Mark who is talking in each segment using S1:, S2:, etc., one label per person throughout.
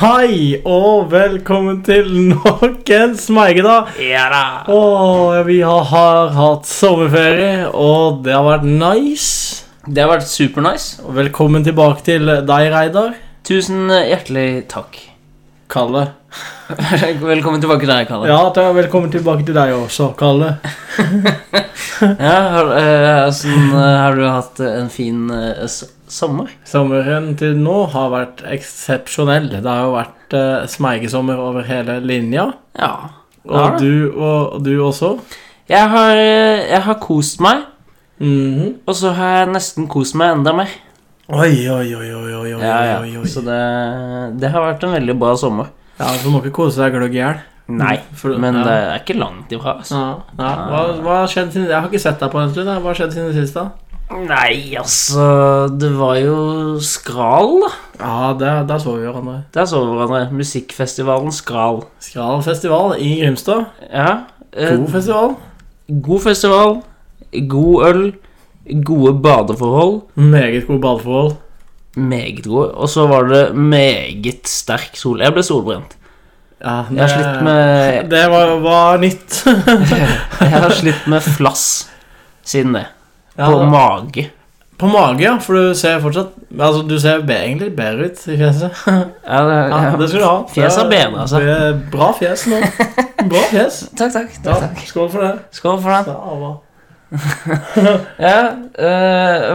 S1: Hei og velkommen til nok en smegedag.
S2: Ja da.
S1: Åh, vi har, har hatt sommerferie, og det har vært nice.
S2: Det har vært supernice.
S1: Og velkommen tilbake til deg, Reidar.
S2: Tusen eh, hjertelig takk.
S1: Kalle.
S2: Velkommen tilbake til deg, Kalle.
S1: Ja, da, velkommen tilbake til deg også, Kalle.
S2: Ja, har, eh, sånn, eh, har du hatt eh, en fin eh, s- sommer?
S1: Sommeren til nå har vært eksepsjonell. Det har jo vært eh, smegesommer over hele linja.
S2: Ja.
S1: Og
S2: Ja, da.
S1: du, og, og du også.
S2: Jeg har, eh, jeg har kost meg,
S1: Mhm.
S2: og så har jeg nesten kost meg enda mer.
S1: Oi, oi, oi, oi, oi, oi,
S2: Ja,
S1: oi,
S2: ja.
S1: oi.
S2: Så det, det har vært en veldig bra sommer.
S1: Ja, du må ikke kose deg gløgg i hjel.
S2: Nei,
S1: For-
S2: men
S1: Mm. ja.
S2: det er ikke langt ifra. Altså.
S1: Ja, ja. Hva, hva har skjedd siden Jeg har ikke sett deg på en stund. jeg. Hva har skjedd siden sist, da?
S2: Nei, altså Det var jo Skral, da.
S1: Ja, det, Der så vi hverandre.
S2: Der så vi hverandre. Musikkfestivalen Skral.
S1: Skral festival i Grimstad.
S2: Ja. eh,
S1: God festival.
S2: God festival, god øl, gode badeforhold.
S1: Meget gode badeforhold.
S2: Meget gode. Og så var det meget sterk sol. Jeg ble solbrent.
S1: Ja,
S2: Jeg har slitt med,
S1: Det var, var nytt.
S2: jeg har slitt med flass siden det.
S1: Ja,
S2: På
S1: da.
S2: mage.
S1: på mage, ja. For du ser fortsatt Altså, du ser be, egentlig bedre ut i fjeset.
S2: Ja, det,
S1: Ja, det skal du ha. Det
S2: Fjeset
S1: er-
S2: bedre, altså.
S1: det er Bra fjes nå. Bra fjes.
S2: Takk, takk.
S1: Ja, skål for det.
S2: Skål for den.
S1: Ja, bra.
S2: Ja, eh,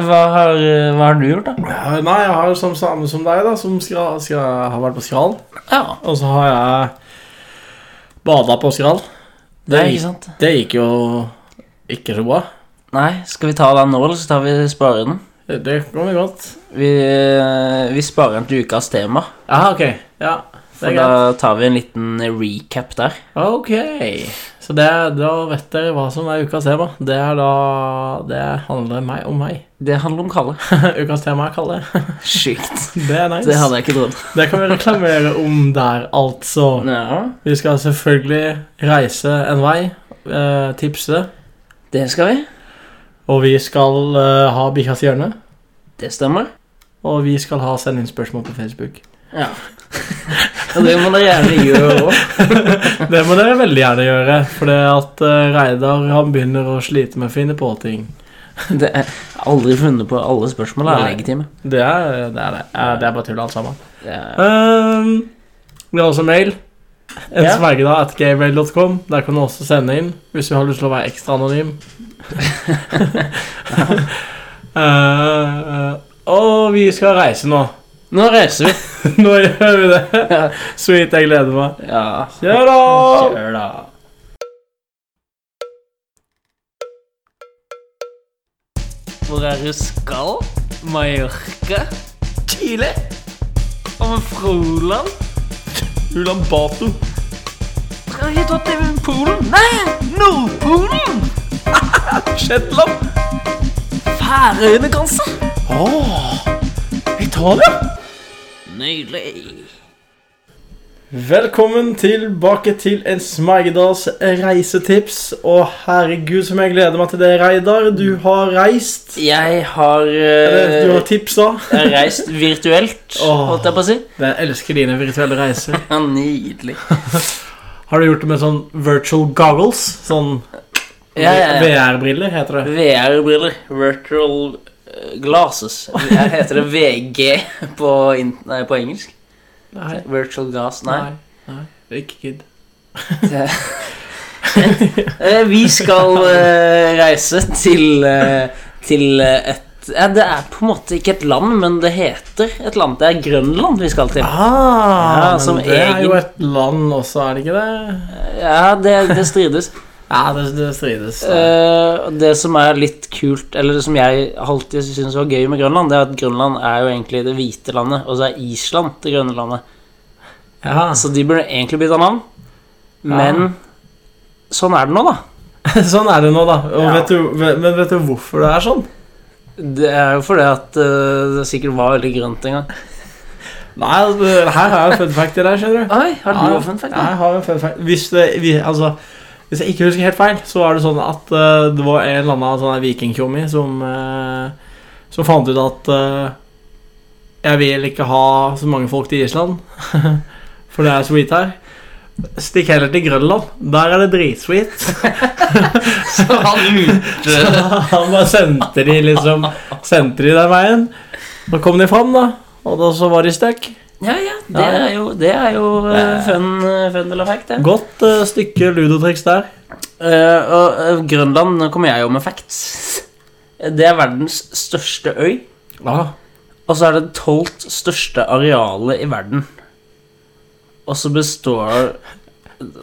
S2: hva, har, hva har du gjort, da?
S1: Ja, Eh, Nei, jeg har jo som samme som deg, da, som skal, skal, har vært på Skral.
S2: Ja,
S1: Og så har jeg bada på Skral.
S2: det er
S1: gikk-
S2: ikke sant.
S1: det gikk jo ikke så bra.
S2: Nei, skal vi ta den nå, eller så tar vi sparer den?
S1: Det kan vi godt.
S2: Vi, eh, vi sparer den til ukas tema.
S1: Ja, ok. Ja, det
S2: For
S1: er greit.
S2: da tar vi en liten recap der.
S1: Ok. Så det, da vet dere hva som er ukas tema. Det er da Det handler meg om meg.
S2: Det handler om Kalle.
S1: ukas tema er Kalle.
S2: Sjukt.
S1: Det er nice.
S2: Det hadde jeg ikke trodd.
S1: Det kan vi reklamere om der, altså.
S2: Ja.
S1: Vi skal selvfølgelig reise en vei. Eh, tipse.
S2: Det skal vi.
S1: Og vi skal eh, ha Bikkjas hjørne.
S2: Det stemmer.
S1: Og vi skal ha send inn spørsmål på Facebook.
S2: Ja. Og det må dere gjerne gjøre òg.
S1: Det må dere veldig gjerne gjøre, for det at eh, Reidar han begynner å slite med å finne på ting.
S2: Det er aldri funnet på alle spørsmål. er
S1: Nei.
S2: legitime.
S1: Det er det. Er det. Ja, det er bare tull, alt sammen.
S2: Det er-
S1: Ehm, vi har også mail. En
S2: Ja.
S1: Der kan du også sende inn hvis du har lyst til å være ekstra anonym. Eh, og vi skal reise nå.
S2: Nå reiser vi.
S1: Nå gjør vi det. Sweet, jeg gleder meg.
S2: Ja.
S1: Kjør, da!
S2: Kjør, da. Hvor er du skal? Mallorca?
S1: Chile!
S2: Og Froland?
S1: Ulan Bato.
S2: Skal vi dra til Polen? Nei, Nordpolen!
S1: Shetland.
S2: Færøyene, kanskje?
S1: Åh, Italia!
S2: Nydelig.
S1: Velkommen tilbake til en Smeigedags reisetips. Og herregud, som jeg gleder meg til det, Reidar. Du har reist.
S2: Jeg har, eh,
S1: Eller, du har tipsa.
S2: jeg har reist virtuelt,
S1: Åh.
S2: holdt jeg på å si.
S1: Jeg elsker dine virtuelle reiser.
S2: Ja, nydelig.
S1: Har du gjort det med sånn virtual goggles? Sånn
S2: Ja, ja, ja.
S1: VR-briller, heter det.
S2: VR-briller. Virtual eh, glasses. Jeg heter det VG på, in nei, på engelsk.
S1: Nei.
S2: Virtual glass, nei.
S1: Nei. Ikke gidd.
S2: Eh, Vi skal eh, reise til, eh, til eh, et ja, Det er på en måte ikke et land, men det heter et land. Det er Grønland vi skal til. Ja,
S1: Ah,
S2: som
S1: men det er jo
S2: egen-
S1: et land også, er det ikke det?
S2: Ja, det, det strides.
S1: Ja, det, det strides.
S2: Eh, det som er litt kult, eller det som jeg alltid syns var gøy med Grønland, det er at Grønland er jo egentlig det hvite landet, og så er Island det grønne landet.
S1: Ja.
S2: Så de burde egentlig bytta navn, men
S1: Ja.
S2: sånn er det nå, da.
S1: Sånn er det nå, da. Og
S2: Ja.
S1: vet du, men vet du hvorfor det er sånn?
S2: Det er jo fordi at eh, det sikkert var veldig grønt en gang.
S1: Nei, altså, her har jeg en fun fact til deg, skjønner du.
S2: Oi, har du
S1: Ja,
S2: offentlig fakt?
S1: Jeg har en fun fact. Hvis, det, vi, altså, hvis jeg ikke husker helt feil, så var det sånn at eh, det var en eller annen sånn her vikingtjommi som, eh, som fant ut at eh, Jeg vil ikke ha så mange folk til Island, for det er sweet her. Stikk heller til Grønland. Der er det dritsweet.
S2: Så han ute
S1: Han bare sendte de liksom Sendte de den veien. Så kom de fram, da. Og da så var de stuck.
S2: Ja, ja. Det
S1: Ja, ja.
S2: er jo, det er jo eh, fun, fun eller fact, det.
S1: Godt eh, stykke ludotriks der.
S2: Eh, og eh, Grønland nå kommer jeg jo med facts. Det er verdens største øy.
S1: Ja.
S2: Og så er det det tolvt største arealet i verden. Og så består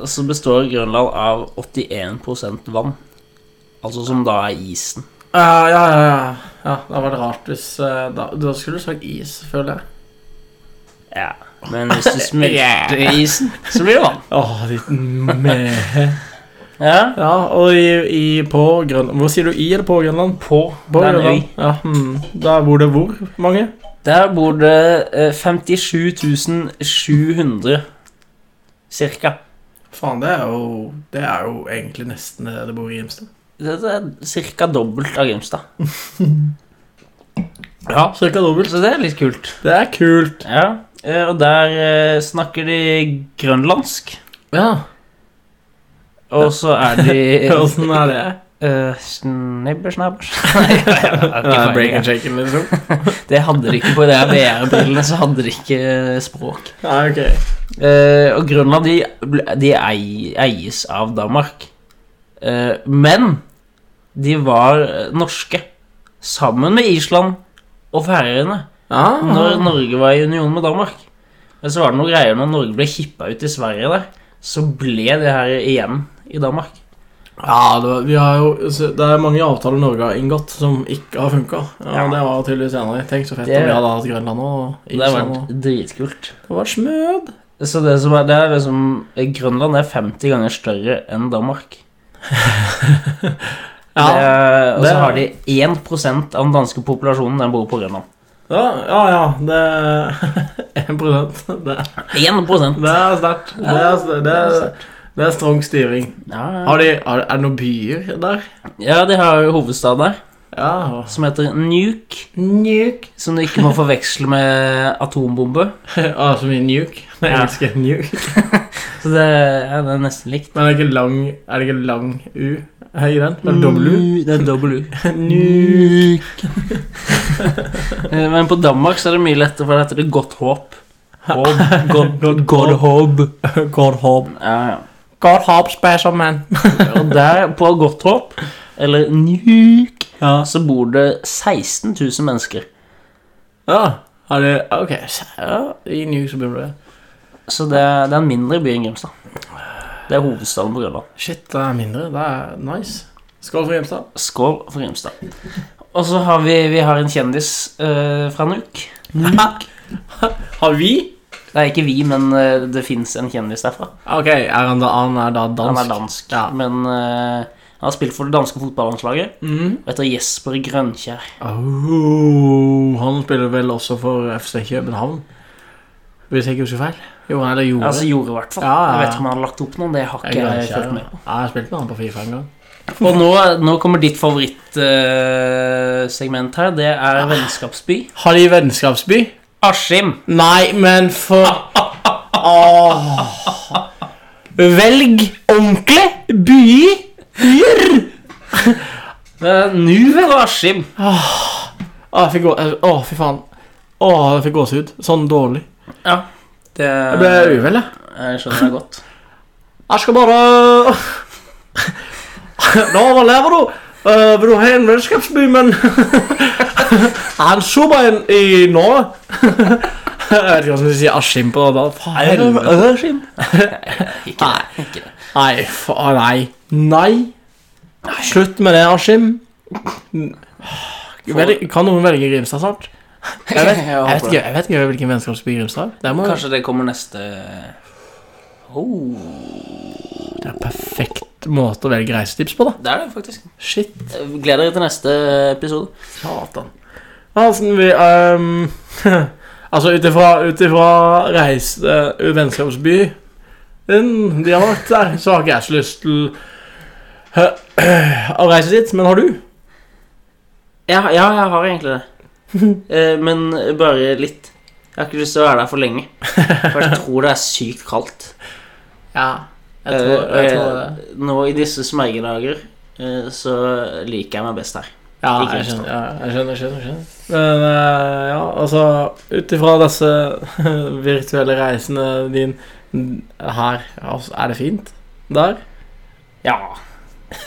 S2: Og så består Grønland av 81 vann. Altså som da er isen.
S1: Ja, ja, ja, ja. ja. Det hadde vært rart hvis eh, da, da skulle du sagt is, føler jeg.
S2: Ja. Men hvis du smelter isen, så blir det vann.
S1: Åh, liten me...
S2: Ja.
S1: Ja, og i, i på Grønland Hvor sier du i eller på Grønland? På.
S2: Det er en
S1: Grønland.
S2: øy.
S1: Ja, hmm. Da bor det hvor mange?
S2: Der bor det eh, 57 700 cirka.
S1: Faen, det er jo Det er jo egentlig nesten det det bor i Grimstad.
S2: Dette er cirka dobbelt av Grimstad.
S1: Ja, cirka dobbelt.
S2: Så det er litt kult.
S1: Det er kult.
S2: Ja, eh, og der eh, snakker de grønlandsk.
S1: Ja.
S2: Og så er de
S1: Åssen
S2: sånn
S1: er det?
S2: eh, Snibbersnabbers. Nei, jeg har ikke peiling.
S1: shaken, liksom.
S2: Det hadde de ikke på de her VR-brillene, så hadde de ikke eh, språk.
S1: Nei, ok.
S2: Eh, og Grønland de, ble- de ei, eies av Danmark. Eh, men de var eh, norske sammen med Island og Færøyene. Når
S1: Ah,
S2: Norge var i union med Danmark. Men så var det noen greier når Norge ble hippa ut i Sverige der, så ble det her igjen i Danmark.
S1: ja det, var, vi har jo, så det er mange avtaler Norge har inngått som ikke har funka. Ja,
S2: Ja.
S1: Det var jo tydeligvis en av de. Tenk så fett
S2: Det-
S1: om vi hadde hatt Grønland og
S2: Det har
S1: Island. og-
S2: vært dritkult.
S1: Det var smød.
S2: Så det som er, det er liksom Grønland er 50 ganger større enn Danmark.
S1: Ja.
S2: Det er- og
S1: det
S2: så
S1: er-
S2: har de 1 av den danske populasjonen den bor på Grønland.
S1: ja, ja, ja. Det 1 Det
S2: 1
S1: Det er sterkt. Det, er- det, er- det er strong styring.
S2: ja,
S1: Har de, har, er det noen byer der?
S2: ja, de har jo hovedstad der,
S1: Ja.
S2: som heter Nuke.
S1: Nuke.
S2: Som du ikke må forveksle med atombombe.
S1: ah, som i nuke. Jeg elsker nuke.
S2: Så det, ja, det er nesten likt.
S1: Men er det ikke lang, er det ikke lang U i den? Eller W?
S2: Nu- Mm, Det er W.
S1: Nu.
S2: Eh, Men på Danmark så er det mye lettere, for det heter det Godt Håp. Håp. God, god, god Håp.
S1: God hob.
S2: Ja, ja.
S1: God hob, special man.
S2: Og der, på Godt Håp, eller Nuuk,
S1: Ja.
S2: så bor det 16 000 mennesker.
S1: ja. Har de Ok, så- ja, i nuke så begynner det.
S2: Så det er, det er en mindre by enn Grimstad. Det er hovedstaden på Grønland.
S1: Shit, det er mindre. Det er nice. Skål for Grimstad.
S2: Skål for Grimstad. Og så har vi, vi har en kjendis eh, fra Nuuk.
S1: Har vi?
S2: Det er ikke vi, men eh, det fins en kjendis derfra.
S1: Ok, er han da, han er da dansk?
S2: Han er dansk,
S1: Ja.
S2: men eh, han har spilt for det danske fotballandslaget.
S1: Mhm.
S2: Og heter Jesper Grønkjær.
S1: Oh, han spiller vel også for FC København? Hvis jeg ikke husker feil. Jo, eller gjorde
S2: Altså gjorde i hvert fall.
S1: Ja, ja, ja.
S2: Jeg vet ikke om han har lagt opp noen. Det har
S1: Jeg
S2: ikke
S1: glemmer
S2: jeg
S1: ikke,
S2: fulgt med på.
S1: Ja, jeg spilte med han på Fifa en gang.
S2: Og nå, nå kommer ditt favorittsegment her. Det er
S1: Ah.
S2: vennskapsby.
S1: Har de vennskapsby?
S2: Askim.
S1: Nei, men for Åh. Velg ordentlig byer! Byer!
S2: Nuvel Eh, og Askim.
S1: Å, jeg fikk gå... Å, fy faen. Å, jeg fikk gåsehud. Sånn dårlig.
S2: Ja, det
S1: Jeg ble uvel, jeg.
S2: Jeg skjønner det godt.
S1: Jeg skal bare Nå overlever du. Eh, vil du ha en vennskapsby, men Han sober en i Norge. jeg vet ikke hvordan de sier Askim på det. da. Faen, helvete.
S2: Askim? Ikke det. Ikke det.
S1: Nei, faen, nei. nei. Slutt med det, Askim. Vel- Kan noen velge Grimstad snart? Jeg vet, jeg vet, ikke, jeg vet ikke hvilken vennskapsby Grimstad er. Det, må,
S2: Kanskje det kommer neste oh,
S1: det er en perfekt måte å velge reisetips på, da.
S2: Det er det, faktisk.
S1: Shit.
S2: Gled dere til neste episode.
S1: Satan. Altså, vi, ehm, altså utifra, utifra reis... eh, vennskapsby den de har vært der, så har ikke jeg så lyst til eh, å reise dit. Men har du?
S2: Ja, ja jeg har egentlig det. Eh, Men bare litt. Jeg har ikke lyst til å være der for lenge. For jeg tror det er sykt kaldt.
S1: Ja, jeg tror, jeg
S2: Eh,
S1: tror det.
S2: eh, Nå i disse smergedager eh, så liker jeg meg best her.
S1: Ja,
S2: Ikke
S1: jeg
S2: minst.
S1: skjønner. Ja, jeg skjønner, skjønner, skjønner. Men eh, ja, altså Ut ifra disse virtuelle reisene din her altså, Er det fint? Der?
S2: Ja,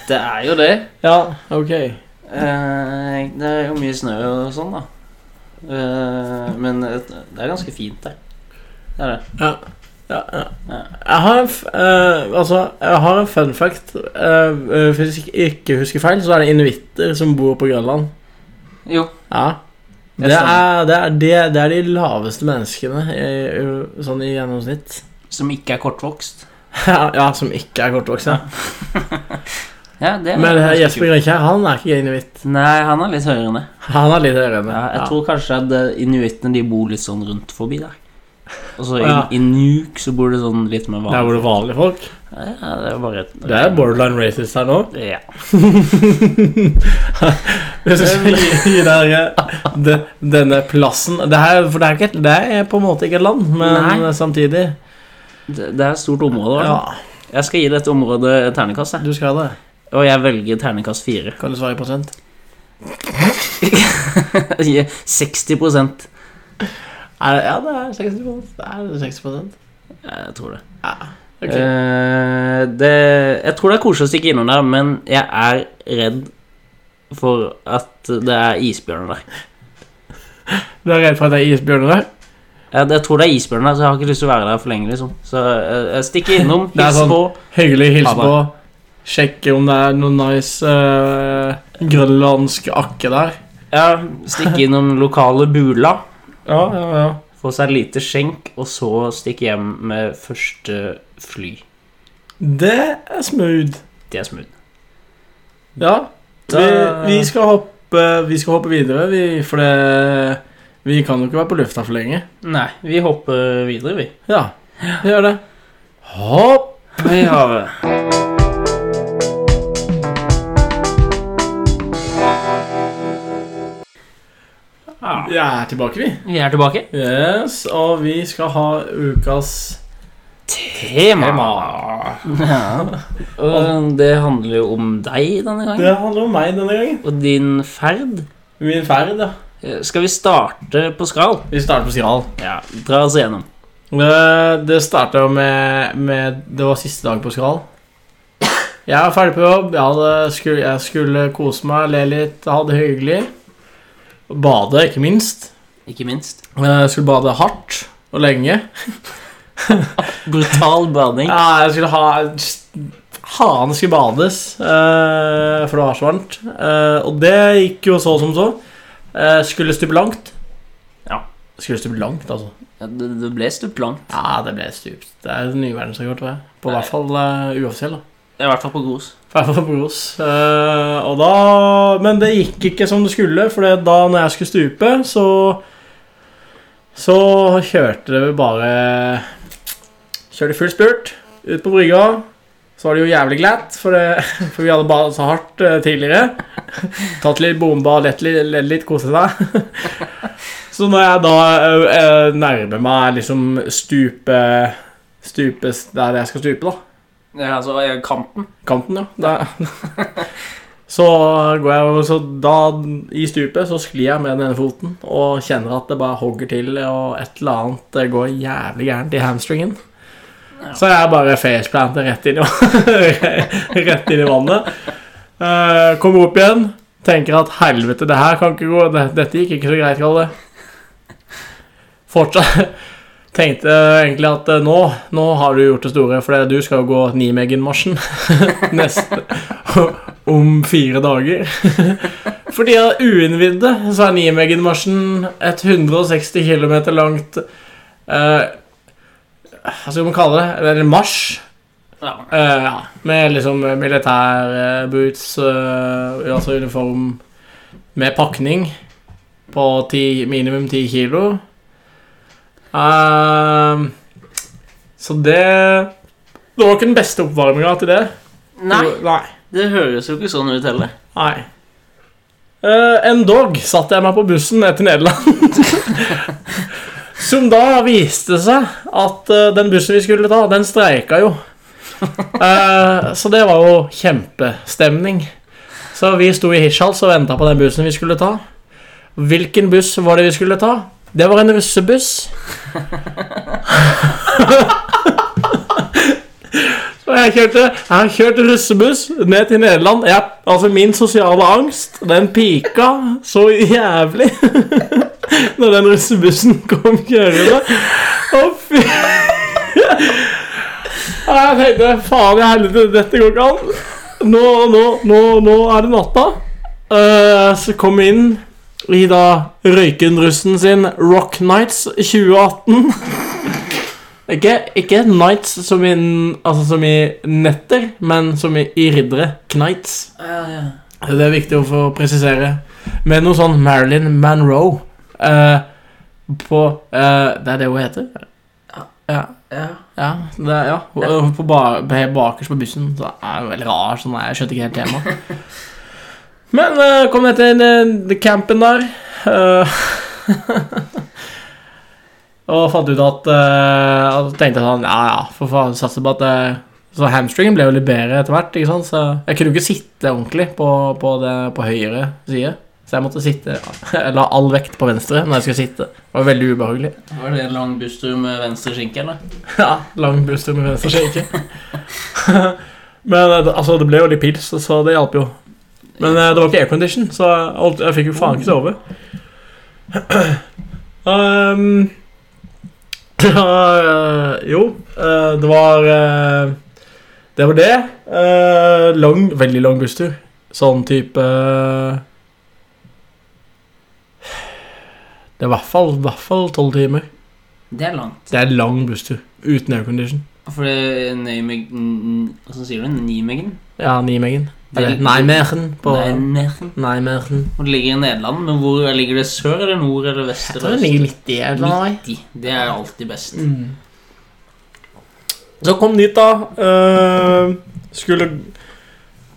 S2: det er jo det.
S1: Ja, ok.
S2: Eh, Det er jo mye snø og sånn, da. Eh, Men det er ganske fint der. Det er det.
S1: Ja, ja.
S2: Ja.
S1: Jeg har en, f eh, altså, jeg har en fun fact. Eh, eh, hvis jeg ikke husker feil, så er det inuitter som bor på Grønland.
S2: Jo.
S1: Ja.
S2: Jeg
S1: Det er, det, er, det, det er de laveste menneskene eh, sånn i gjennomsnitt.
S2: Som ikke er kortvokst.
S1: ja, som ikke er kortvokste.
S2: Ja, det er
S1: Men eh,
S2: ganske
S1: Jesper Grønkjær, han er ikke inuitt.
S2: kult. Nei, han er litt høyere enn det.
S1: Han er litt høyere enn det.
S2: Ja, jeg tror kanskje at eh, inuittene de bor litt sånn rundt forbi der. Og så i,
S1: Ja.
S2: i Nuuk så bor det sånn litt mer
S1: Der
S2: vanlig.
S1: bor det vanlige folk.
S2: Ja, det er bare et
S1: Det er borderline racist her nå.
S2: Ja.
S1: Hvis vi skal gi- gi der, eh, de, denne plassen det her, For det er, ikke, et- det er på en måte ikke et land, men eh,
S2: Nei.
S1: samtidig
S2: Det, det er et stort område.
S1: Ja,
S2: Ja. Jeg skal gi dette området et ternekast, jeg.
S1: du skal det.
S2: og jeg velger ternekast fire.
S1: Kan du svare i prosent?
S2: 60 Jeg
S1: Er, ja, det er 60 Det er 60
S2: tror det.
S1: Ok.
S2: Eh, det. Jeg tror det er koselig å stikke innom der, men jeg er redd for at det er isbjørner der.
S1: Du er redd for at det er isbjørner der?
S2: Jeg, jeg tror det er isbjørner der, så jeg har ikke lyst til å være der for lenge, liksom. Så jeg, jeg stikker innom,
S1: Det er
S2: hils
S1: sånn-
S2: på.
S1: Hyggelig å hilse
S2: Ha det.
S1: på. Sjekke om det er noe nice eh, grønlandsk akke der.
S2: Ja, stikke innom lokale bula.
S1: Ja, ja, ja.
S2: Få seg et lite skjenk, og så stikke hjem med første fly.
S1: Det er smooth.
S2: Det er smooth.
S1: Ja. Vi,
S2: Da-
S1: vi, skal hoppe, vi skal hoppe videre, vi, for det Vi kan jo ikke være på lufta for lenge.
S2: Nei, vi hopper videre, vi.
S1: Ja, vi gjør det. Hopp!
S2: I havet. Ja,
S1: Vi er tilbake, vi.
S2: vi er tilbake.
S1: Yes, og vi skal ha ukas
S2: Tema!
S1: tema.
S2: Ja. Og det handler jo om deg denne gangen,
S1: Det handler om meg denne gangen.
S2: og din ferd.
S1: Min ferd, ja.
S2: Eh, Skal vi starte på skral?
S1: Vi starter på Skral.
S2: Ja, dra oss igjennom.
S1: Det, det starta jo med, med Det var siste dag på Skral. Jeg var ferdig på jobb. Jeg, hadde, skulle, jeg skulle kose meg, le litt, ha det hyggelig. Bade, ikke minst.
S2: Ikke minst.
S1: Eh, Jeg skulle bade hardt og lenge.
S2: Brutal bading.
S1: Ja, jeg skulle ha Hanen skulle bades, eh, for det var så varmt. Eh, og det gikk jo så som så. Eh, skulle stupe langt.
S2: Ja.
S1: Skulle stupe langt, altså.
S2: Ja, det, det ble stupt langt.
S1: Ja, det ble stupt. Det er ny verdensrekord, tror jeg. På
S2: Nei.
S1: hvert fall eh, uoffisiell. da.
S2: I hvert fall på Gros.
S1: I hvert fall på Gros. Eh, og da Men det gikk ikke som det skulle, for det- da når jeg skulle stupe, så Så kjørte det vel bare Kjørte full spurt ut på brygga. Så var det jo jævlig glatt, for, det, for vi hadde badet så hardt eh, tidligere. Tatt litt bomba, lett litt, ledd litt koset seg. Så når jeg da eh, eh, nærmer meg liksom stupe Stupes der jeg skal stupe, da
S2: Ja, altså eh, kanten.
S1: kanten, ja. Da- så går jeg over, så da i stupet så sklir jeg med den ene foten og kjenner at det bare hogger til, og et eller annet det går jævlig gærent i hamstringen. Så jeg bare faceplanter rett inn i, rett inn i vannet. Eh, kommer opp igjen, tenker at helvete, det her kan ikke gå, det, dette gikk ikke så greit, Kalle. Fortsatt tenkte egentlig at eh, nå, nå har du gjort det store, for du skal jo gå Nimegen-marsjen neste om fire dager. For de er uinnvidde, så er Niemegen-marsjen et 160 km langt eh, Hva skal man kalle det? Eller marsj.
S2: Ja.
S1: Eh, ja, med liksom eh, militærboots, uh, altså uniform med pakning på ti, minimum 10 kilo. Ehm, så det Det var ikke den beste oppvarminga til det.
S2: Nei,
S1: Nei.
S2: det høres jo ikke sånn ut heller.
S1: Nei. Eh, Uh, Endog satte jeg meg på bussen ned til Nederland. Som da viste seg at eh, den bussen vi skulle ta, den streika jo. Eh, så det var jo kjempestemning. Så vi sto i Hirtshals og venta på den bussen vi skulle ta. Hvilken buss var det vi skulle ta? Det var en russebuss. Så jeg kjørte, jeg har kjørt russebuss ned til Nederland. Jeg, altså Min sosiale angst, den pika så jævlig når den russebussen kom kjørende. Å, fy Ja, Jeg tenkte faen i helvete, dette går ikke an. Nå, nå, nå, nå er det natta. Eh, så kom jeg inn i da røyken-russen sin Rock Nights 2018. Ikke, ikke Nights som i, altså som i netter, men som i, i riddere. Knights.
S2: Ja, ja.
S1: Det er viktig å få presisere. Med noe sånn Marilyn Monroe eh, på eh, Det er det hun heter? Ja.
S2: ja.
S1: ja, det er, ja. Hun-
S2: Ja.
S1: hun På ba, helt bakerst på bussen. Så det er jo veldig rar, sånn er- jeg skjønte ikke helt temaet. Men eh, kom ned til eh, the campen der. eh, og fant ut at eh, at- Tenkte sånn Ja, ja, for faen, satser på at eh, så hamstringen ble jo litt bedre etter hvert, ikke sant? så jeg kunne jo ikke sitte ordentlig på, på, det, på høyre side. Så jeg måtte sitte, jeg la all vekt på venstre når jeg skulle sitte. Det var veldig ubehagelig.
S2: Var det en lang busstur med venstre skinke, eller?
S1: Ja, lang busstur med venstre skjenke. Men eh, det- altså, det ble jo litt pils, så det hjalp jo. Men eh, det var ikke aircondition, så alt, jeg fikk jo faen ikke sove. um, da, eh, jo, eh, det var eh, Det var det. Eh, lang, veldig lang busstur. Sånn type eh, Det er i hvert fall- i hvert fall tolv timer.
S2: Det er langt.
S1: Det er lang busstur uten aircondition.
S2: For det er Neimeg... n- Hvordan sier du det? Nijmegen?
S1: Ja, Nijmegen. Eller
S2: Det-
S1: Nijmegen på
S2: Nijmegen.
S1: Nijmegen.
S2: Og det ligger i Nederland, men hvor ligger det sør eller nord eller vest?
S1: Jeg
S2: eller
S1: tror den
S2: øst?
S1: ligger Mm. midt i en eller annen vei.
S2: 90. Det er alltid best.
S1: Så kom dit, da. eh, skulle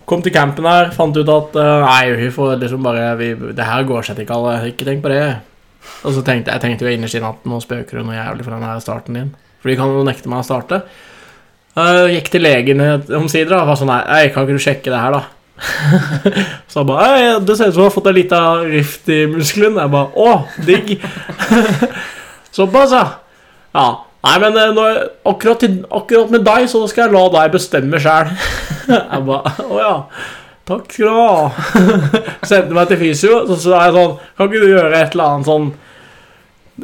S1: Kom til campen her, fant ut at eh, Nei, vi får liksom bare vi, Det her går seg ikke, alle. Ikke tenk på det. Og så tenkte jeg tenkte jo innerst inne at nå spøker du noe jævlig for den her starten din. For de kan jo nekte meg å starte. Eh, gikk til legen eh, omsider og var sånn Nei, «Ei, kan ikke du sjekke det her, da? så han bare «Ei, Det ser ut som du har fått en liten rift i muskelen. Jeg bare Å, digg. Såpass, ja. Ja. Nei, men eh, nå, akkurat, til, akkurat med deg, så skal jeg la deg bestemme sjæl. jeg bare Å ja. Takk skal du ha. Sendte meg til fysio, så så er jeg sånn Kan ikke du gjøre et eller annet sånn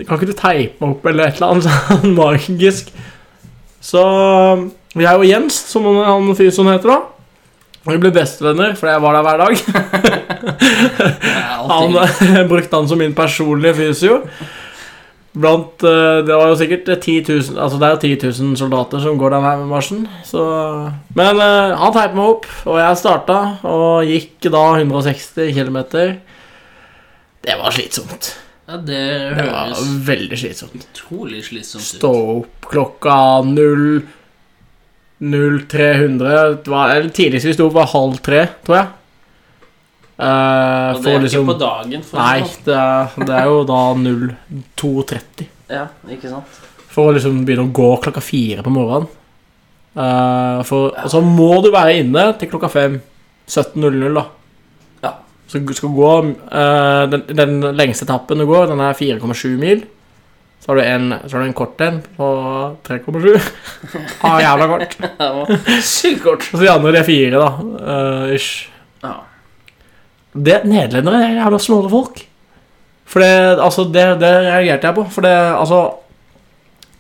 S1: Kan ikke du teipe meg opp eller et eller annet sånn magisk? Så jeg og Jens, som han- han fysioen heter, da vi ble bestevenner, for jeg var der hver dag.
S2: Det er
S1: Han
S2: alltid
S1: jeg brukte han som min personlige fysio. Blant eh, Det var jo sikkert 10 000 Altså det er jo 10 000 soldater som går den her med marsjen, så Men eh, han teipet meg opp, og jeg starta, og gikk da 160 km. Det var slitsomt.
S2: ja, Det
S1: Det var
S2: høres
S1: veldig slitsomt.
S2: utrolig slitsomt
S1: Stå
S2: ut.
S1: opp klokka 0 0300 Det var- eller Tidligst vi sto, opp var halv tre, tror jeg. Eh,
S2: Og
S1: for
S2: det er
S1: liksom-
S2: ikke på dagen, for
S1: Nei,
S2: eksempel.
S1: det er, det er jo da 02.30.
S2: sånn. Ja, ikke sant?
S1: For å liksom begynne å gå klokka fire på morgenen. Eh, for, og så må du være inne til klokka fem. 17.00, da.
S2: Ja.
S1: Så du skal gå eh, den, den lengste etappen du går, den er 4,7 mil. Så har du en, så har du en kort en på 3,7. ah, jævla kort.
S2: Det var Sykt kort.
S1: Og så de andre de er fire, da. eh, ish.
S2: Ja.
S1: Det, nederlendere er jævla snåle folk. For det, altså, det, det reagerte jeg på. For det, altså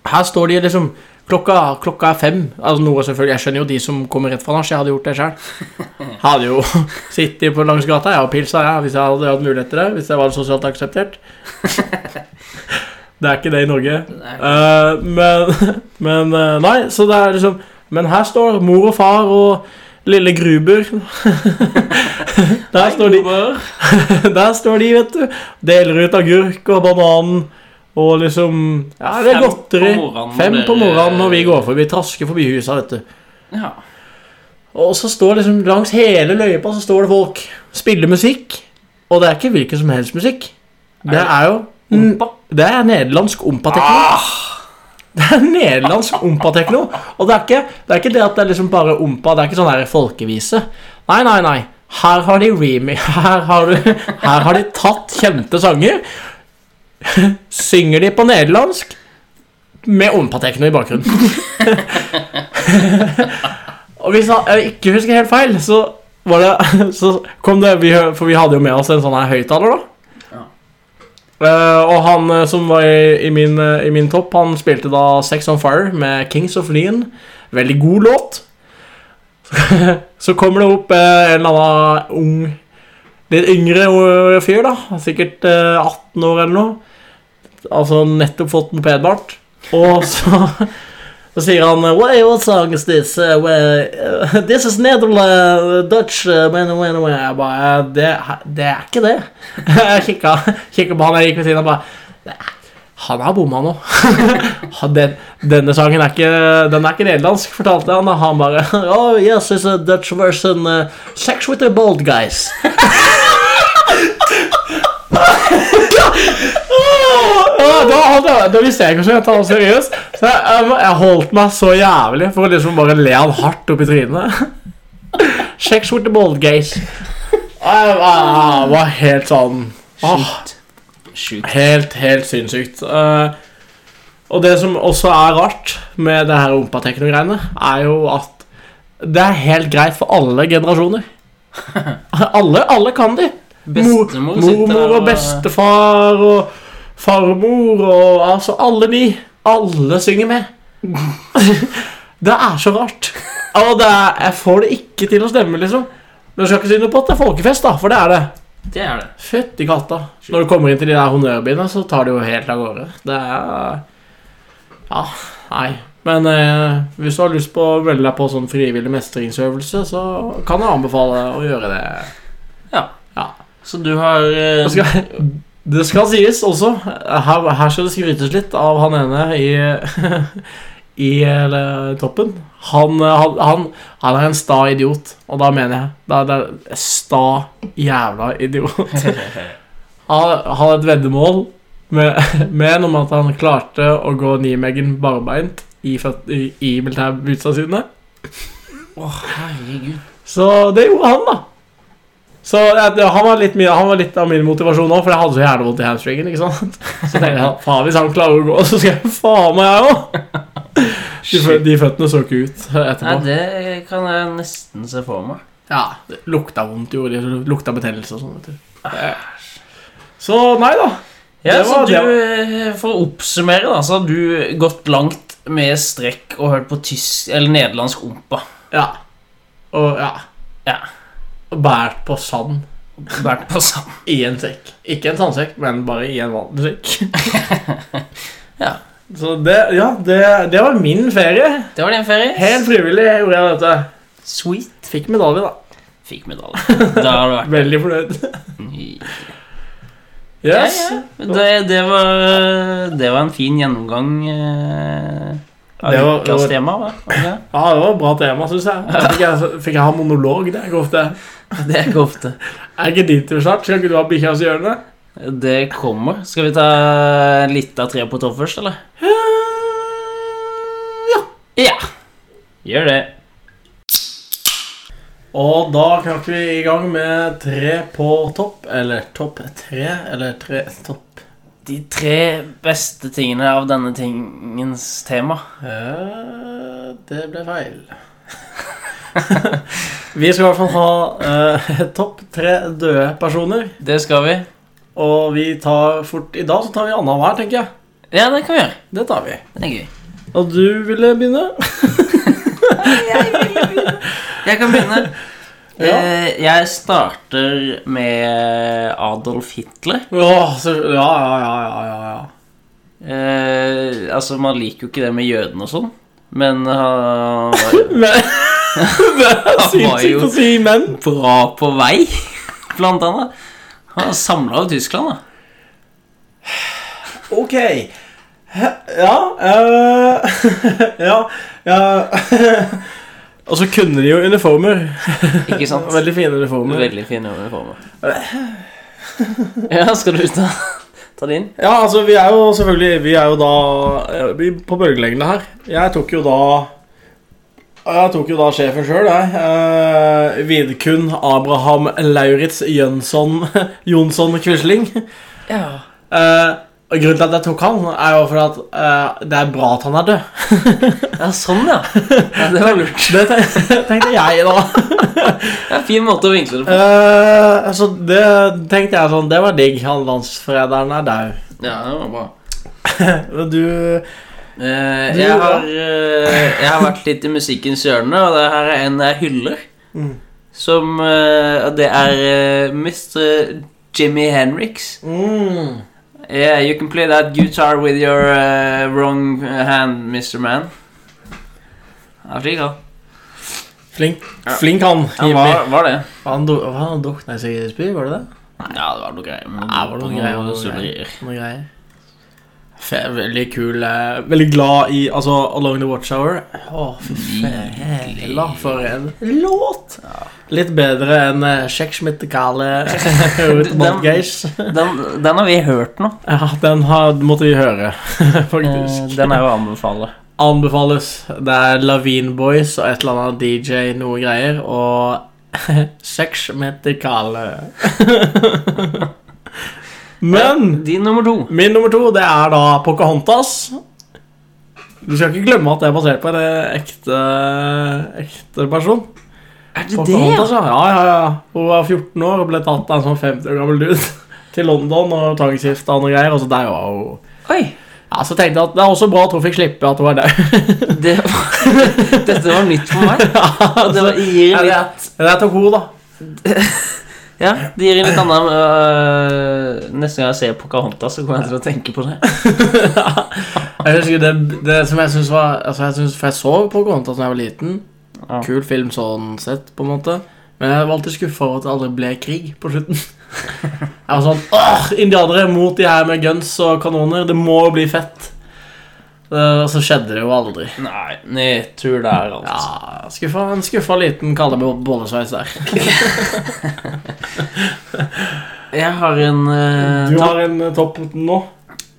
S1: Her står de liksom Klokka, klokka er fem. Altså noe selvfølgelig, Jeg skjønner jo de som kommer rett fra nach. Jeg hadde gjort det sjøl. Hadde jo sittet på langs gata jeg og pilsa jeg, hvis jeg hadde hatt mulighet til det. Hvis jeg var sosialt akseptert. Det er ikke det i Norge.
S2: Det er-
S1: Eh, men men eh, nei, så det er liksom Men her står mor og far og lille Gruber. Der står de
S2: Nei,
S1: der står de, vet du. Deler ut agurk og banan og liksom Ja, det er
S2: Fem
S1: godteri.
S2: på morgenen,
S1: Fem på
S2: dere-
S1: morgenen når vi går forbi, trasker forbi husa, vet du.
S2: Ja.
S1: Og så står liksom langs hele løypa så står det folk. Spiller musikk. Og det er ikke hvilken som helst musikk. Det
S2: Er det-
S1: er jo
S2: Ompa.
S1: Det er nederlandsk ompa-tekno. Det er nederlandsk ompa-tekno. Og det er, ikke, det er ikke det at det er liksom bare ompa, det er ikke sånn her folkevise. Nei, nei, nei. Her har de remi... Her har, du, her har de tatt kjente sanger. Synger de på nederlandsk med ompa-tekno i bakgrunnen. Og hvis jeg ikke husker helt feil, så var det Så kom det vi, hø- For vi hadde jo med oss en sånn her høyttaler, da. Eh, og han eh, som var i, i, min, eh, i min topp, han spilte da Sex on Fire med Kings of Lean. Veldig god låt. Så kommer det opp eh, en eller annen ung Litt yngre eh, fyr, da. Sikkert eh, 18 år eller noe. Altså nettopp fått mopedbart. Og så så sier han Wait, what song is this? Uh, well, uh, this is Nederland, Dutch uh, when, when, when. Jeg bare, eh, det, det er ikke det. Jeg kikka, kikka på han jeg gikk ved siden av, bare "Nei, Han har bomma nå. Han- Den, denne sangen er ikke, den er ikke nederlandsk, fortalte han. Og han bare Oh yes, it's a Dutch version. Uh, sex with the bold guys. Ja, da, da, da visste jeg ikke hvordan jeg tar det seriøst. Så jeg, jeg, må- jeg holdt meg så jævlig for å liksom bare le han hardt opp i trynet. Sex with the bold gays. Jeg, jeg, jeg var helt sånn åh,
S2: Sjukt. Sjukt.
S1: Helt, helt sinnssykt. Eh, og det som også er rart med det her ompa-tekno-greiene, er jo at det er helt greit for alle generasjoner. Alle, alle kan de. Mor-
S2: Bestemor
S1: Mormor og bestefar og farmor og altså alle de. Alle synger med. det er så rart. Og det er, jeg får det ikke til å stemme, liksom. Men jeg skal ikke si noe på at det er folkefest, da, for det er det.
S2: Det er det.
S1: Fytti katta. Når du kommer inn til de der honnørbyene, så tar det jo helt av gårde. Det er Ja, nei. Men eh, hvis du har lyst på å melde deg på sånn frivillig mestringsøvelse, så kan jeg anbefale å gjøre det.
S2: Så du har eh,
S1: Det skal, det skal sies også. Her, her skal det skrytes litt av han ene i, i eller, toppen. Han, eh, han, han, han er en sta idiot, og da mener jeg da er det sta jævla idiot. Han han hadde et veddemål med, med en om at han klarte å gå Nimegen barbeint i, føt- i, i militærbootsa sine.
S2: Å, herregud.
S1: Så det gjorde han, da. Så jeg, det- han, var litt mye, han var litt av min motivasjon òg, for jeg hadde så jævlig vondt i hamstringen. ikke sant? Så tenkte jeg faen, hvis han klarer å gå, så skal jeg faen meg, jeg òg. De, fø- de føttene så ikke ut
S2: Nei,
S1: etterpå.
S2: det kan jeg nesten se for meg.
S1: Ja, det Lukta vondt, gjorde de. så Lukta betennelse og sånn. vet du. Det- Så nei da.
S2: Ja,
S1: Det
S2: så
S1: var-
S2: du,
S1: det
S2: eh, For å oppsummere, da, så har du gått langt med strekk og hørt på tysk eller nederlandsk ompa.
S1: Ja. Og ja.
S2: Ja.
S1: Og Båret på sand
S2: Vært på sand.
S1: i en sekk. Ikke en sandsekk, men bare i en vanlig sekk.
S2: Ja.
S1: Så det, ja, det, det var min ferie.
S2: Det var din ferie.
S1: Helt frivillig gjorde jeg dette.
S2: Sweet.
S1: Fikk medalje, da.
S2: Fikk medalje. Da har du vært
S1: Veldig fornøyd.
S2: ny.
S1: Yes.
S2: Ja, ja. Det, det, var, det var en fin gjennomgang eh, av
S1: Det var-
S2: ukas tema. Va? Var det
S1: Ja, det var et bra tema, syns jeg. Da Fikk jeg, fikk jeg ha monolog? Det er ikke ofte.
S2: det? Det er ikke ofte.
S1: Er ikke dit du snart? Skal ikke du ha bikkjas hjørne?
S2: Det kommer. Skal vi ta litt av tre på topp først, eller?
S1: Eh, Ja.
S2: Ja. Gjør det.
S1: Og da knakk vi i gang med tre på topp, eller topp tre, eller tre topp
S2: De tre beste tingene av denne tingens tema.
S1: Eh, Det ble feil. vi skal i hvert fall ha eh, topp tre døde personer.
S2: Det skal vi.
S1: Og vi tar fort I dag så tar vi annenhver, tenker jeg.
S2: Ja, det kan vi gjøre.
S1: Det tar vi.
S2: Det er gøy.
S1: Og du ville begynne?
S2: Jeg kan begynne.
S1: Ja.
S2: Eh, Jeg starter med Adolf Hitler.
S1: Åh, så, ja, ja, ja, ja, ja, ja.
S2: Eh, altså, man liker jo ikke det med jødene og sånn, men han var jo
S1: Men, det er
S2: var jo-
S1: sinnssykt å si men.
S2: bra på vei, blant annet. Han samla jo Tyskland, da.
S1: Ok. Ja, eh, ja, ja. Og så kunne de jo uniformer.
S2: Ikke sant?
S1: Veldig fine uniformer.
S2: Veldig fin uniform. Ja, skal du ta Ta det inn.
S1: Ja, altså, vi er jo selvfølgelig Vi er jo da eh, vi- på bølgelengde her. Jeg tok jo da Jeg tok jo da sjefen sjøl, jeg. Eh, Vidkun Abraham Lauritz Jønsson Jonsson Quisling.
S2: Ja.
S1: Eh, og grunnen til at jeg tok han, er jo fordi at eh, det er bra at han er død.
S2: ja, sånn, ja. ja. Det var lurt.
S1: Det te- tenkte jeg da.
S2: Det er en fin måte å vinkle det på.
S1: Eh, så det tenkte jeg sånn Det var digg. Han landsforræderen er daud.
S2: Ja, det var bra.
S1: Men du
S2: Eh,
S1: Du,
S2: jeg,
S1: ja.
S2: har, eh, jeg har vært litt i musikkens hjørne, og det her er en jeg hyller.
S1: Mm.
S2: Som eh, Det er eh, Mr. Jimmy Henriks.
S1: mm,
S2: Yeah, you can play that guitar with your eh, wrong hand, Mr. Man. Ja, slik, ja.
S1: Flink,
S2: Ja.
S1: flink han,
S2: Han
S1: Jimmy.
S2: var, var det.
S1: Han, do, han drukna i sigarettspy, var det det?
S2: Ja, det var noe greier. men-
S1: Ja, det var noe greier,
S2: noe
S1: noe
S2: surrerier.
S1: Noen greier. Fe- Veldig kul. eh, Veldig glad i altså, Along the Watchhour. Å, fy fela, for en låt! Litt bedre enn eh, Sjekk Schmittekale
S2: Den-
S1: Ruth Montgeis.
S2: Den, den har vi hørt nå.
S1: Ja, den har, måtte vi høre,
S2: Eh,
S1: faktisk.
S2: den er jo å anbefale.
S1: Anbefales. Det er Lavine Boys og et eller annet DJ noe greier, og Sjekk Schmittekale. Men
S2: Din nummer to.
S1: Min nummer to det er da Pocahontas. Du skal ikke glemme at det er basert på en eh, ekte, eh, ekte person.
S2: Er det det? ja?
S1: Pocahontas, ja. Ja, ja, ja. Hun var 14 år og ble tatt av en sånn 50 år gammel dude til London og tvangsgifta og noe greier. Og så der var hun.
S2: Oi!
S1: Ja, så tenkte jeg at Det er også bra at hun fikk slippe at hun var der.
S2: Det var, dette var nytt for meg.
S1: Ja, altså.
S2: Det var,
S1: så-
S2: gir
S1: Ja,
S2: en
S1: det
S2: litt,
S1: er- det er til hun, da.
S2: ja, det gir en litt annen øh, Neste gang jeg ser Pocahontas, så kommer jeg til å tenke på det.
S1: Jeg husker det, det som jeg syns var altså jeg synes, For jeg så Pocahontas da jeg var liten.
S2: Ja.
S1: Kul film sånn sett, på en måte. Men jeg var alltid skuffa over at det aldri ble krig på slutten. Jeg var sånn Åh, indianere mot de her med guns og kanoner. Det må jo bli fett. Eh, Og så skjedde det jo aldri.
S2: Nei, nedtur der, altså.
S1: Ja, skuffa, En skuffa liten kaller meg bollesveis der.
S2: Jeg har en øh, topp-
S1: en eh, topp nå.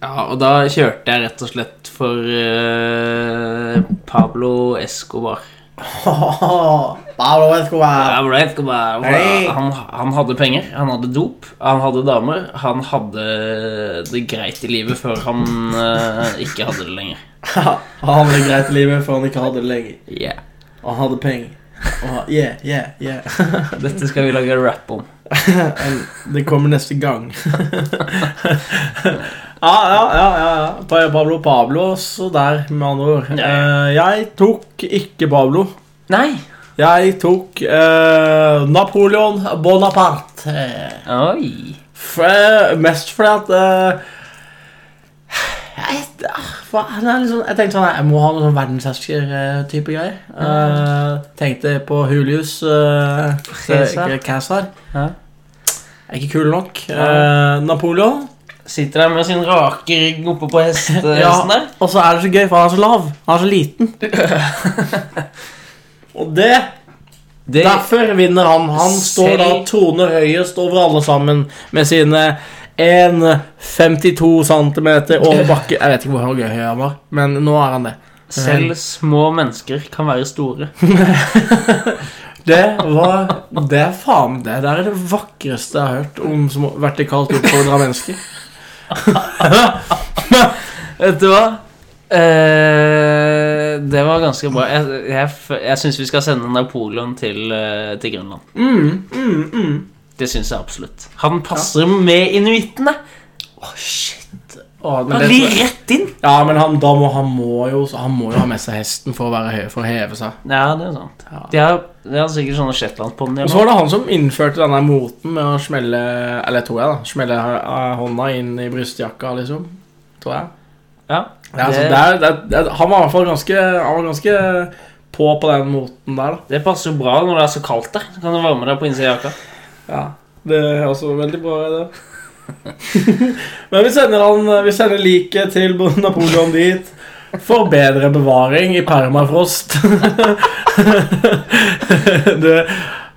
S2: Ja, og da kjørte jeg rett og slett for øh, Pablo Escobar.
S1: Pablo Escobar.
S2: Pablo Escobar
S1: Hei.
S2: han, han hadde penger, han hadde dop, han hadde damer. Han hadde det greit i livet før han øh, ikke hadde det lenger.
S1: Han hadde det greit i livet før han ikke hadde det lenger.
S2: Yeah.
S1: Og han hadde penger. Og yeah, yeah, yeah.
S2: Dette skal vi lage rap om.
S1: En- Det kommer neste gang. ja, ja, ja. ja, ja. Pa- Pablo Pablo, så der, med andre ord. Eh, jeg tok ikke Pablo.
S2: Nei!
S1: Jeg tok eh, Napoleon Bonaparte. Eh,
S2: Oi!
S1: f- mest fordi at eh, jeg, ah, faen, han er litt sånn- jeg tenkte sånn, jeg må ha noe sånn verdenshersker-type greier. Eh, tenkte på Julius eh,
S2: Caesar.
S1: Caesar.
S2: Ja.
S1: Er ikke kul nok. Eh, Napoleon.
S2: Sitter der med sin rake rygg oppe på hest, eh, hesten der.
S1: Og så er det så gøy, for han er så lav. Han er så liten. og det
S2: Det,
S1: Derfor vinner han. Han står da
S2: Selv-
S1: troner høyest over alle sammen med sine 1,52 cm over bakken. Jeg vet ikke hvor høy han var, men nå er han det.
S2: selv små mennesker kan være store.
S1: Det var Det er faen det. Det er det vakreste jeg har hørt om som vertikalt oppfordra mennesker.
S2: Vet du hva? Eh, det var ganske bra. Jeg, jeg, f- jeg syns vi skal sende Napoleon til, eh, til Grønland.
S1: Mm, mm, mm.
S2: Det syns jeg absolutt. Han passer med inuittene.
S1: Åh, shit. Åh, men
S2: Han
S1: det-
S2: glir rett inn.
S1: Ja, men han, da må, han, må jo, han må jo ha med seg hesten for å, være høy, for å heve seg.
S2: Ja, det er sant.
S1: Ja.
S2: De har, de har sikkert sånne shetlandponnier.
S1: Og så
S2: nå.
S1: var det han som innførte denne moten med å smelle Eller tror jeg, da. Smelle eh, hånda inn i brystjakka, liksom. Tror jeg.
S2: Ja,
S1: Ja, altså,
S2: det-
S1: det er, det er, det er, han var i hvert fall ganske, han var ganske på på den moten der, da.
S2: Det passer jo bra når det er så kaldt der. Så kan du varme deg på innsida av jakka.
S1: Ja, Det er også veldig bra, det. men vi sender, han- vi sender liket til Napoleon dit. For bedre bevaring i permafrost. det,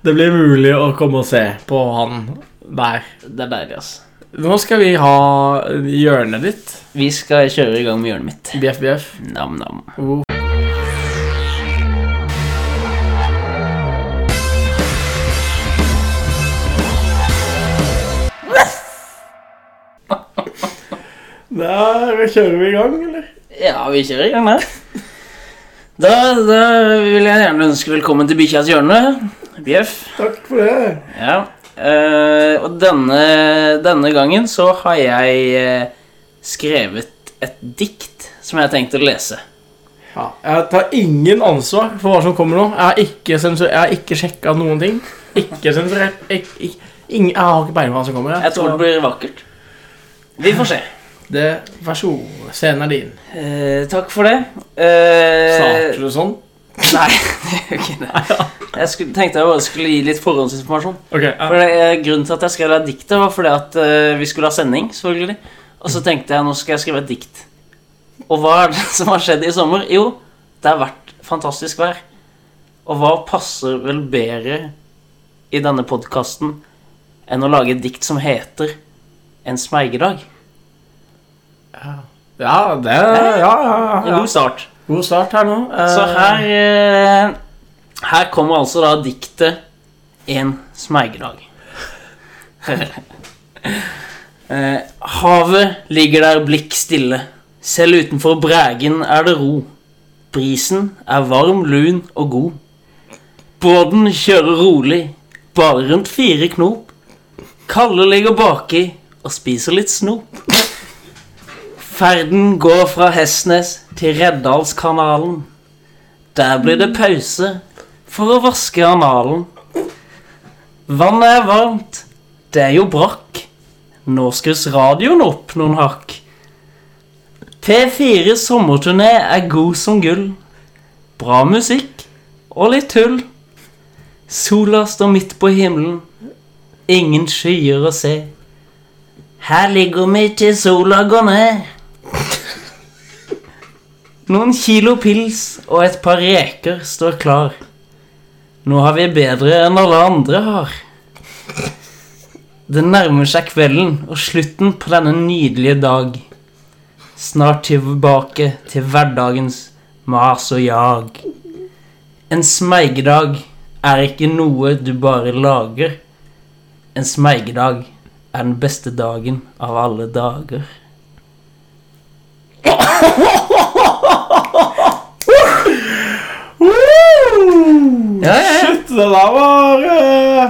S1: det blir mulig å komme og se på han der.
S2: Det er deilig, altså. ass.
S1: Nå skal vi ha hjørnet ditt.
S2: Vi skal kjøre i gang med hjørnet mitt.
S1: Bjeff, bjeff.
S2: Nam-nam.
S1: Oh. Der kjører vi i gang, eller?
S2: Ja, vi kjører i gang der. Da, da vil jeg gjerne ønske velkommen til Bikkjas hjørne. Bjeff.
S1: Takk for det.
S2: Ja. eh, og denne, denne gangen så har jeg eh, skrevet et dikt som jeg har tenkt å lese.
S1: Ja, jeg tar ingen ansvar for hva som kommer nå. Jeg har ikke, sensur- jeg har ikke sjekka noen ting. Ikke sensurert. Ik ik ingen, jeg har ikke peiling på hva som kommer.
S2: Jeg tror det blir vakkert. Vi får se.
S1: det Vær så god. Scenen er din.
S2: Eh, takk for det. Eh,
S1: Starter du sånn?
S2: Nei, det gjør ikke det. Jeg skulle, tenkte jeg bare skulle gi litt forhåndsinformasjon.
S1: Ok, ja.
S2: For det, eh, grunnen til at jeg skrev det diktet, var fordi at eh, vi skulle ha sending. selvfølgelig. Og så tenkte jeg nå skal jeg skrive et dikt. Og hva er det som har skjedd i sommer? Jo, det har vært fantastisk vær. Og hva passer vel bedre i denne podkasten enn å lage et dikt som heter En smeigedag?
S1: ja, det ja, ja, ja,
S2: En
S1: ja.
S2: god start.
S1: God start her nå. Eh,
S2: Så her eh, Her kommer altså da diktet En smeigedag. Eh, Havet ligger der blikk stille. Selv utenfor brægen er det ro. Brisen er varm, lun og god. Båten kjører rolig, bare rundt fire knop. Kalle ligger baki og spiser litt snop. Ferden går fra Hestnes til Reddalskanalen. Der blir det pause for å vaske analen. Vannet er varmt, det er jo brakk. Nå skrus radioen opp noen hakk. P4 sommerturné er god som gull. Bra musikk og litt tull. Sola står midt på himmelen, ingen skyer å se. Her ligger vi til sola går ned. Noen kilo pils og et par reker står klar. Nå har vi bedre enn alle andre har. Det nærmer seg kvelden og slutten på denne nydelige dag. Snart tilbake til hverdagens mas og jag. En smeigedag er ikke noe du bare lager. En smeigedag er den beste dagen av alle dager.
S1: Woo!
S2: Ja, ja, ja.
S1: Shit, det der var eh,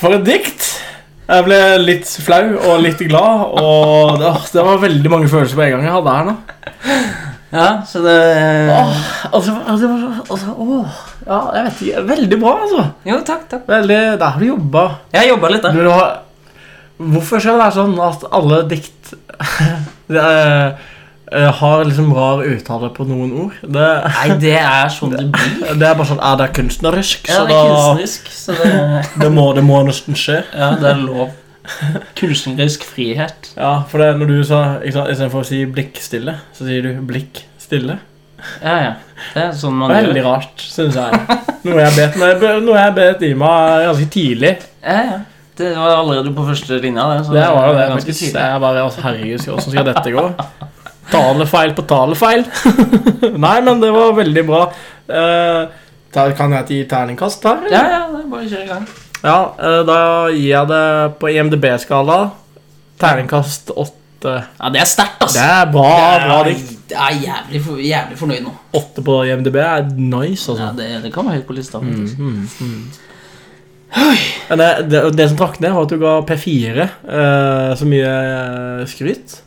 S1: For et dikt. Jeg ble litt flau og litt glad, og det, åh, det var veldig mange følelser på en gang jeg hadde her nå.
S2: Ja, så det eh,
S1: Åh, altså, altså, altså, åh, ja, jeg vet ikke, veldig bra, altså.
S2: Jo, takk, takk.
S1: Veldig, der har du jobba.
S2: Jeg jobba litt, da.
S1: Du har, hvorfor skal det være sånn at alle dikt det, er- eh, har liksom rar uttale på noen ord? Det,
S2: Nei, det er sånn det blir.
S1: det er bare sånn, er det kunstnerisk?
S2: Ja,
S1: så
S2: det
S1: da-
S2: er kunstnerisk, så det
S1: Det må, det må nesten skje.
S2: Ja, det er lov. Kunstnerisk frihet.
S1: Ja, for det, når du sa ikke sant, Istedenfor å si 'blikkstille', så sier du 'blikk stille'.
S2: Ja, ja. Det er sånn man gjør.
S1: Veldig rart, syns jeg. Noe jeg bet noe jeg be- noe jeg bet i meg ganske tidlig.
S2: Ja, ja. Det var allerede på første linja. Det, så
S1: Det var jo det.
S2: ganske
S1: faktisk.
S2: tidlig.
S1: Jeg bare altså, Herregud, skal- hvordan skal dette gå? Talefeil på talefeil. Nei, men det var veldig bra. Eh, da kan jeg gi terningkast her? eller?
S2: Ja, ja, det er bare å kjøre i gang.
S1: Ja, eh, da gir jeg det på IMDb-skala terningkast åtte.
S2: Ja, det er sterkt, ass.
S1: Det er bra, bra dikt.
S2: Jeg er jævlig, for, jævlig fornøyd nå.
S1: Åtte på IMDb er nice,
S2: Ja,
S1: altså.
S2: det, det kan være høyt på
S1: Mm.
S2: lista. faktisk.
S1: Men det, det, det som trakk ned, var at du ga P4 eh, så mye eh, skryt.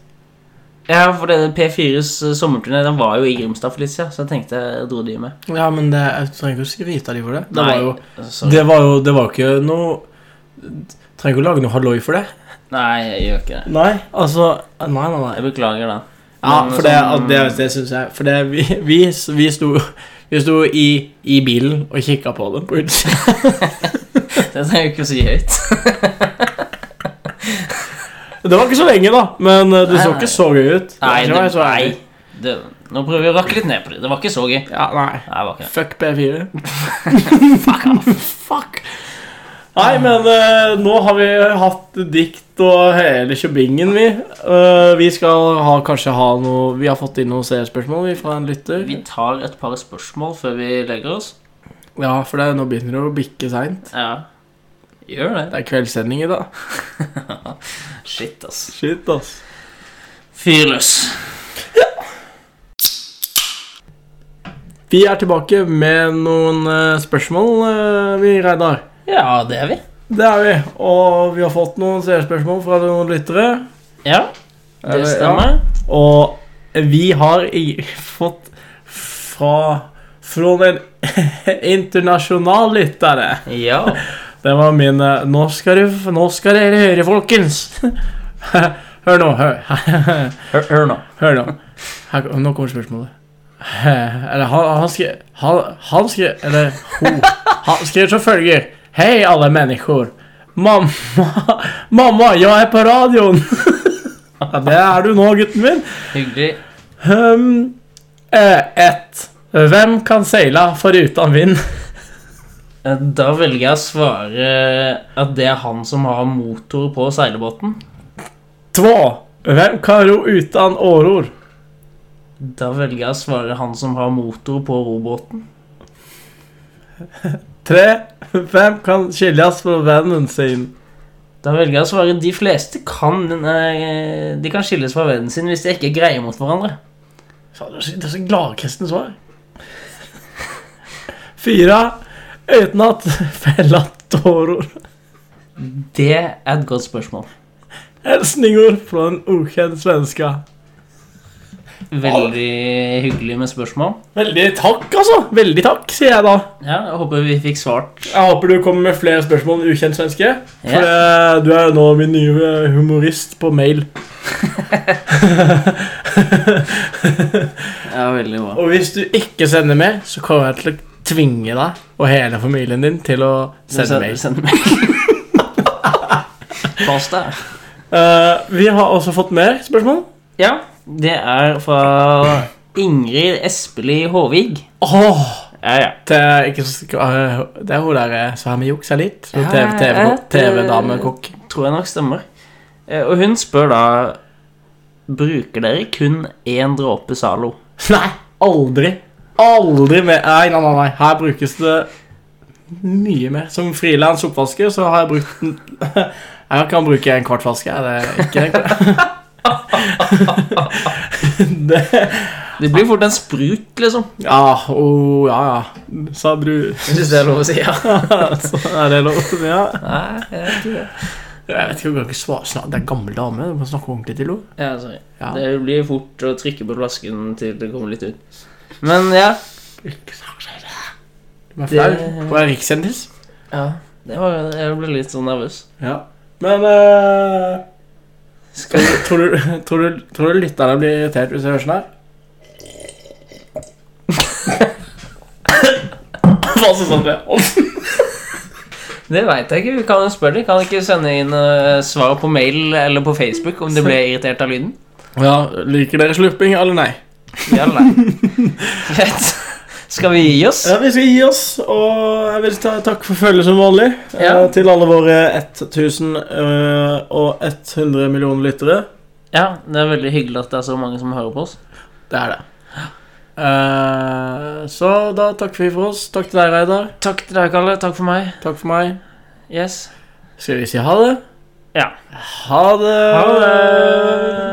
S2: Ja, for det- P4s sommerturné den var jo i Grimstad for litt siden, så jeg tenkte jeg dro de med.
S1: Ja, men det, jeg trenger ikke å skryte av dem for det. Det,
S2: Nei,
S1: var jo,
S2: sorry.
S1: det var jo Det var jo ikke noe Trenger ikke å lage noe halloi for det.
S2: Nei, jeg gjør ikke det.
S1: Nei, altså Nei, nei, nei.
S2: Jeg beklager den.
S1: Ja,
S2: Men
S1: for det,
S2: sånn-
S1: det, det syns jeg. For det, vi, vi, vi sto, vi sto i, i bilen og kikka på dem på utsida.
S2: Det trenger jeg ikke å si høyt.
S1: Det var ikke så lenge, da, men eh, det
S2: Nei,
S1: så
S2: nei.
S1: ikke så gøy ut. Det var
S2: Nei,
S1: ikke
S2: det,
S1: så- så ærlig.
S2: nei. Det, nå prøver vi å rakke litt ned på det. Det var ikke så gøy. Nei,
S1: Ja, nei.
S2: det var ikke det.
S1: Fuck P4. Fuck Nei, men eh, nå har vi hatt dikt og hele kjøbingen, vi. Eh, vi skal ha, kanskje ha noe Vi har fått inn noen seerspørsmål vi, fra en lytter.
S2: Vi tar et par spørsmål før vi legger oss.
S1: Ja, for det, nå begynner det å bikke seint.
S2: Ja. Gjør det.
S1: Det er kveldssending i dag.
S2: Shit, ass.
S1: Shit, ass.
S2: Fyr løs.
S1: Vi er tilbake med noen eh, spørsmål, eh, vi, Reidar.
S2: Ja, det er vi.
S1: Det er vi. Og vi har fått noen seerspørsmål fra noen lyttere.
S2: Ja,
S1: Eller,
S2: det stemmer.
S1: Ja. Og vi har i, fått fra Fra den internasjonale lyttere.
S2: Ja.
S1: Det var min eh, Nå skal, du, nå skal dere høre, folkens. Hør nå. Hør.
S2: Hør, hør nå.
S1: Hør nå. Her, nå kommer spørsmålet. Eller han, han skrev han, han skrev Eller hun. Han skrev som følger. Hei, alle mennesker. Mamma, mamma, jeg er på radioen. Ja, Det er du nå, gutten min.
S2: Hyggelig.
S1: Um, eh, ett. Hvem kan seile foruten vind?
S2: Eh, Da velger jeg å svare at det er han som har motor på seilbåten.
S1: Två. Hvem kan ro uten åror?
S2: Da velger jeg å svare han som har motor på robåten.
S1: Tre. Hvem kan skilles fra vennen sin?
S2: Da velger jeg å svare de fleste kan eh, De kan skilles fra vennen sin hvis de ikke er greie mot hverandre.
S1: Faen, Det er så- det er så gladkristne svar. Fire. Uten at fella tårer.
S2: Det er et godt spørsmål.
S1: Hilsninger fra en ukjent svenske.
S2: Veldig hyggelig med spørsmål.
S1: Veldig takk, altså. Veldig takk, sier jeg da.
S2: Ja, jeg håper vi fikk svart.
S1: Jeg håper du kommer med flere spørsmål om ukjent svenske. For
S2: Ja.
S1: eh, du er jo nå min nye eh, humorist på mail.
S2: Ja, veldig bra.
S1: Og hvis du ikke sender med, så kommer jeg til å tvinge deg og hele familien din til å sende mail.
S2: Send mail. Pass deg.
S1: Eh, vi har også fått mer spørsmål.
S2: Ja, det er fra Ingrid Espelid Håvig.
S1: Åh!
S2: Ja, ja.
S1: Det er, ikke, så- øh, det er hun der eh, som har med juksa litt. Hun
S2: Ja,
S1: TV- TV-
S2: et,
S1: TV-damekokk.
S2: Tror jeg nok stemmer. Eh, Og hun spør da Bruker dere kun én dråpe Zalo?
S1: Nei, aldri. Aldri mer. Nei, nei, nei, nei. Her brukes det mye mer. Som frilans oppvasker så har jeg brukt den Jeg kan bruke en kvart flaske. Er det ikke en kvart? det,
S2: Det blir fort en sprut, liksom.
S1: ja, oh, ja, ja. Sa bru...
S2: Hvis det er lov å si, ja.
S1: Så Altså, er det lov til ja.
S2: Nei, jeg vet ikke det.
S1: Jeg vet ikke, hun kan ikke svare snart. Det er en gammel dame. Du må snakke ordentlig til henne.
S2: Ja, sorry.
S1: Ja.
S2: Det blir fort å trykke på flasken til det kommer litt ut. Men ja.
S1: Hun er
S2: Det-
S1: flau. Hun er rikskjendis.
S2: ja det var, jeg ble litt sånn nervøs.
S1: Ja. Men eh,
S2: Skal vi
S1: tror, du, tror, du, tror du lytterne blir irritert hvis de hører sånn her? Hva synes han det?
S2: Det veit jeg ikke. Vi kan jo spørre dem. Kan de ikke sende inn eh, svar på mail eller på Facebook om de ble irritert av lyden?
S1: Ja, Liker dere slurping eller nei?
S2: Ja eller nei? Greit. Skal vi gi oss?
S1: Ja, Vi skal gi oss, og jeg vil ta takk for følget som vanlig eh,
S2: Ja.
S1: til alle våre eh, 1100 millioner lyttere.
S2: Ja, det er veldig hyggelig at det er så mange som hører på oss.
S1: Det er det. Eh, så da takker vi for oss. Takk til deg, Reidar.
S2: Takk til deg, Kalle. Takk for meg.
S1: Takk for meg.
S2: Yes.
S1: Skal vi si ha det?
S2: Ja.
S1: Ha det!
S2: Ha det!